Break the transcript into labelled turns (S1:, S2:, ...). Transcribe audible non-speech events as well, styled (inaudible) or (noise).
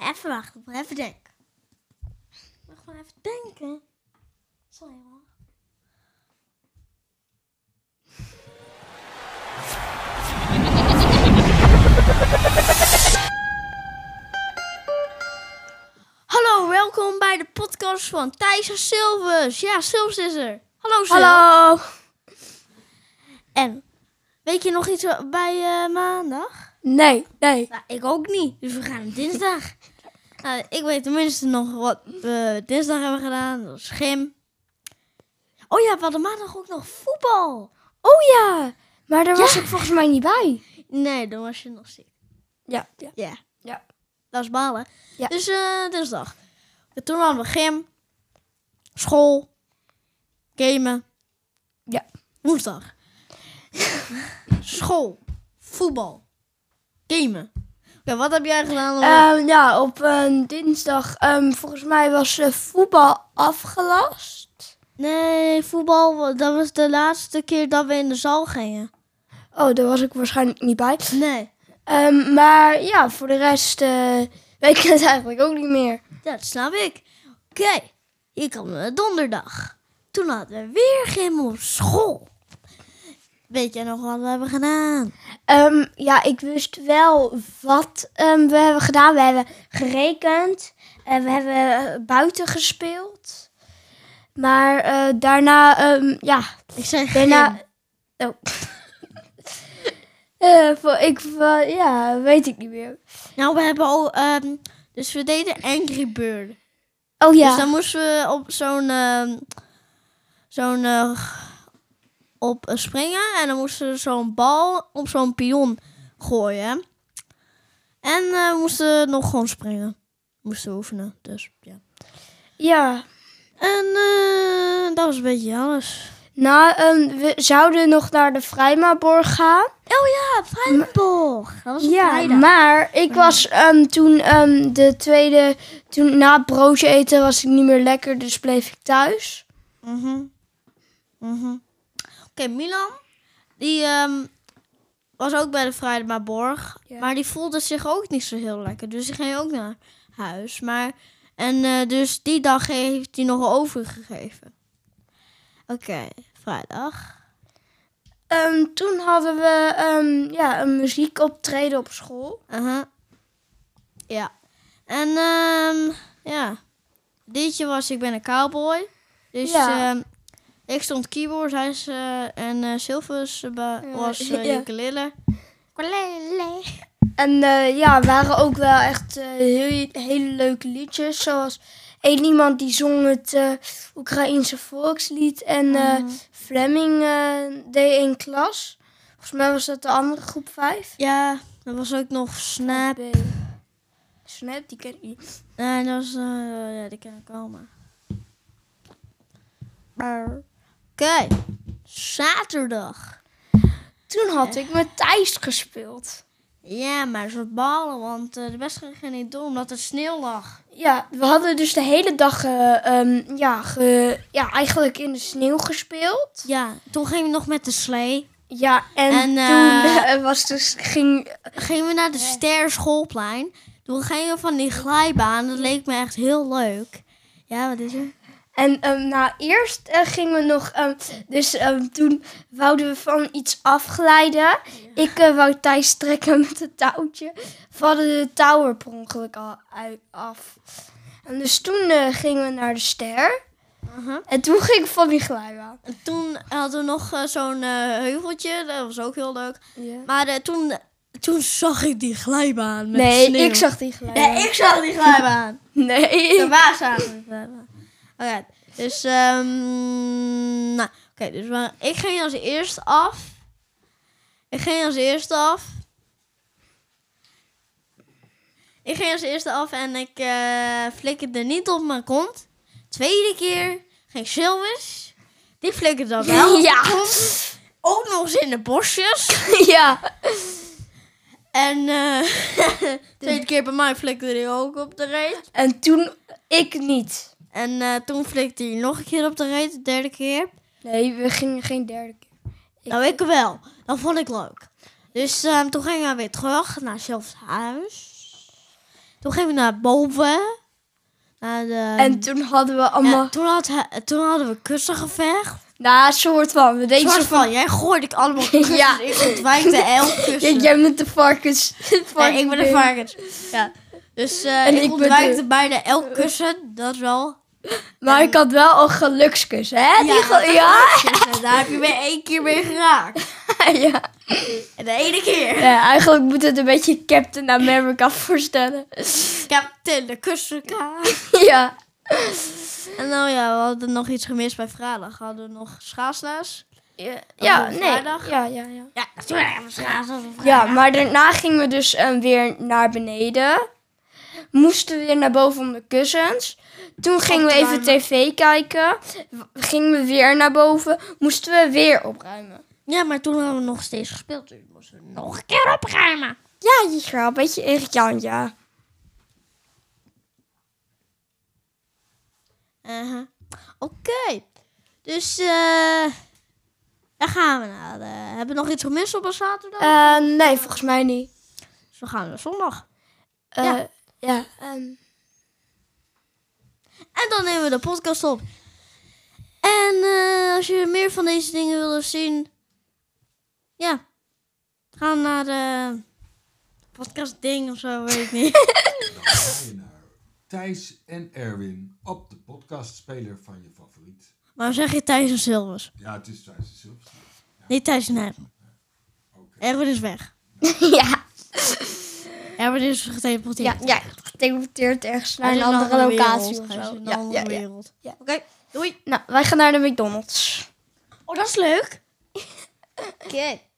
S1: Even wachten, maar even denken. Ik moet gewoon even denken. Sorry hoor. (laughs) Hallo, welkom bij de podcast van Thijs en Silvers. Ja, Silvers is er. Hallo Sil.
S2: Hallo.
S1: En, weet je nog iets bij eh, maandag?
S2: Nee, nee.
S1: Nou, ik ook niet. Dus we gaan op dinsdag. (laughs) Nou, ik weet tenminste nog wat we dinsdag hebben gedaan. Dat was gym. Oh ja, we hadden maandag ook nog voetbal.
S2: Oh ja, maar daar was
S1: Ja.
S2: ik volgens mij niet bij.
S1: Nee, dan was je nog ziek.
S2: Ja, ja.
S1: Ja.
S2: Ja.
S1: Dat is balen.
S2: Ja.
S1: Dus eh, dinsdag. En toen hadden we gym, school, gamen.
S2: Ja.
S1: Woensdag. school, voetbal, gamen. Oké, wat heb jij gedaan? om-
S2: Ehm, ja, op een dinsdag, ehm, volgens mij was eh, voetbal afgelast.
S1: Nee, voetbal, dat was de laatste keer dat we in de zaal gingen.
S2: Oh, daar was ik waarschijnlijk niet bij.
S1: Nee.
S2: Ehm, maar ja, voor de rest eh, weet ik het (laughs) eigenlijk ook niet meer.
S1: Dat snap ik. Oké, hier kwam eh, donderdag. Toen hadden we weer gym op school. Weet jij nog wat we hebben gedaan?
S2: Ehm, ja, ik wist wel wat ehm, we hebben gedaan. We hebben gerekend. en we hebben eh, buiten gespeeld. Maar eh, daarna, ehm, ja,
S1: Ik zei gym.
S2: Daarna.
S1: Ehm.
S2: Oh. (laughs) Eh, voor- ik. wa- ja, weet ik niet meer.
S1: Nou, we hebben al... ehm, dus we deden Angry Bird.
S2: Oh ja.
S1: Dus dan moesten we op zo'n... ehm, zo'n... eh, op eh, springen. En dan moesten we zo'n bal op zo'n pion gooien. En eh, we moesten nog gewoon springen. Moesten we oefenen, dus ja.
S2: ja.
S1: En eh, dat was een beetje alles.
S2: Nou, ehm, we zouden nog naar de Vrijmaborg gaan.
S1: Oh ja, Vrijborg. Dat was op
S2: Ja,
S1: vrijdag.
S2: maar ik was ehm, toen ehm, de tweede. Toen na het broodje eten was ik niet meer lekker, dus bleef ik thuis.
S1: Mhm. Mhm. Oké, Milan, die ehm, was ook bij de Vrijdagborg,
S2: Ja.
S1: maar die voelde zich ook niet zo heel lekker, dus die ging ook naar huis. Maar, en eh, dus die dag heeft hij nog overgegeven. Oké, vrijdag.
S2: Ehm, toen hadden we ehm, ja, een muziekoptreden op school.
S1: Aha. Ja. En ehm ja. Ditje was Ik ben een cowboy. Dus
S2: Ja.
S1: ehm, ik stond keyboard, hij is, eh, en eh Silvus eh, ba-
S2: Eh,
S1: was uh,
S2: (laughs) ja.
S1: ukulele.
S2: En eh, ja, er waren ook wel echt eh, heel, hele leuke liedjes. Zoals één iemand die zong het eh Oekraïense volkslied. En eh
S1: Mhm.
S2: Fleming eh, deed in klas. Volgens mij was dat de andere groep 5.
S1: Ja, er was ook nog Snap.
S2: Snap, die ken ik niet.
S1: Nee, dat was, eh, ja, die kan ik allemaal. Oké, zaterdag.
S2: Toen had ik met Thijs gespeeld.
S1: Ja, maar ze ballen, want eh, de wedstrijd ging niet door omdat er sneeuw lag.
S2: Ja, we hadden dus de hele dag eh, ehm, ja, ge- ja, eigenlijk in de sneeuw gespeeld.
S1: Ja, toen ging we nog met de slee.
S2: Ja, en,
S1: En,
S2: toen
S1: eh,
S2: eh, (laughs) was dus, ging
S1: gingen we naar de Ster Schoolplein. Toen gingen we van die glijbaan. Dat leek me echt heel leuk. Ja, wat is er?
S2: En ehm, nou, eerst eh, gingen we nog, ehm, dus ehm, toen wouden we van iets afglijden. Ik eh, wou Thijs trekken met het touwtje. We hadden de touw er per ongeluk al uit, af. En dus toen eh, gingen we naar de ster. En toen ging ik van die glijbaan.
S1: En toen hadden we nog eh, zo'n eh, heuveltje. Dat was ook heel leuk.
S2: Ja.
S1: Maar eh, toen, toen zag ik die glijbaan met
S2: Nee,
S1: sneeuw.
S2: ik zag die glijbaan.
S1: Nee, ik zag die glijbaan. (laughs)
S2: Nee.
S1: De waar zagen die glijbaan. Oké, dus... ehm nou, oké, dus we- ik ging als eerst af. Ik ging als eerste af. Ik ging als eerste af en ik eh flikkerde niet op mijn kont. Tweede keer ging Silvers. Die flikkerde dat wel.
S2: (laughs)
S1: (laughs)
S2: Ja.
S1: Ook nog eens in de bosjes.
S2: (laughs) ja.
S1: En eh (laughs) tweede keer bij mij flikkerde hij ook op de reet.
S2: En toen ik niet.
S1: En eh, toen flikte hij nog een keer op de reet, de derde keer.
S2: Nee, we gingen geen derde keer.
S1: Nou, ik wel. Dat vond ik leuk. Dus ehm, toen ging hij weer terug naar Silvers huis. Toen gingen we naar boven. Naar de, ehm,
S2: En toen hadden we allemaal...
S1: Ja, toen, had hij- toen hadden we kussengevecht.
S2: Nou, soort van. We deden
S1: Soort
S2: soort van...
S1: van, jij gooide ik allemaal kussen.
S2: (laughs) Ja.
S1: Ik ontwijkte elk kussen.
S2: Jij bent de varkens. (laughs)
S1: Nee, ik ben een
S2: varkensbeest.
S1: varkens. Ja. Dus eh,
S2: En
S1: ik,
S2: ik ben
S1: ontwijkte
S2: de-
S1: bijna elk kussen. Dat wel.
S2: Maar ik had wel een gelukskus, hè? Ja. Die ge- ja?
S1: (laughs) ja. Daar heb je me één keer mee geraakt.
S2: (laughs) ja.
S1: En de ene keer.
S2: Ja, Eigenlijk moet het een beetje Captain America voorstellen. (laughs)
S1: Captain de kussenkaart.
S2: ja.
S1: (laughs) En nou ja, we hadden nog iets gemist bij vrijdag. Hadden we nog schaatsles.
S2: Ja, Oh,
S1: op
S2: nee.
S1: vrijdag?
S2: Ja, ja, ja.
S1: Ja, natuurlijk hebben we schaatsles op
S2: Ja,
S1: vrijdag.
S2: maar daarna gingen we dus eh, weer naar beneden. Moesten weer naar boven om de kussens. Toen gingen we even
S1: Opruimen.
S2: tv kijken. W- Gingen we weer naar boven. Moesten we weer opruimen.
S1: Ja, maar toen hadden we nog steeds gespeeld. Dus we moesten we nog een keer opruimen.
S2: Ja, je grap. Beetje irritant, ja.
S1: Uh-huh. Oké. Dus eh daar gaan we naar. eh, hebben we nog iets gemist op een zaterdag?
S2: Eh, nee, volgens mij niet.
S1: dus we gaan naar zondag.
S2: Eh,
S1: Ja.
S2: ja, ehm,
S1: En dan nemen we de podcast op. En eh, als je meer van deze dingen wil zien, ja, ga naar de podcast ding of zo, weet ik niet. (laughs)
S3: Luister je naar Thijs en Erwin op de podcastspeler van je favoriet.
S1: maar zeg je Thijs en Silvers?
S3: Ja, het is Thijs en Silvers.
S1: Niet Thijs en Erwin.
S3: Oké.
S1: Erwin is weg.
S2: (laughs) ja,
S1: Erwin is geteleporteerd.
S2: ja, ja. Geteleporteerd ergens naar
S1: Hij
S2: een
S1: is in
S2: andere locatie
S1: wereld.
S2: of
S1: Hij is
S2: zo.
S1: in een
S2: Ja,
S1: andere
S2: ja, ja.
S1: wereld.
S2: Ja.
S1: Oké, doei.
S2: Nou, wij gaan naar de McDonald's. (laughs)
S1: Oh, dat is leuk. Oké.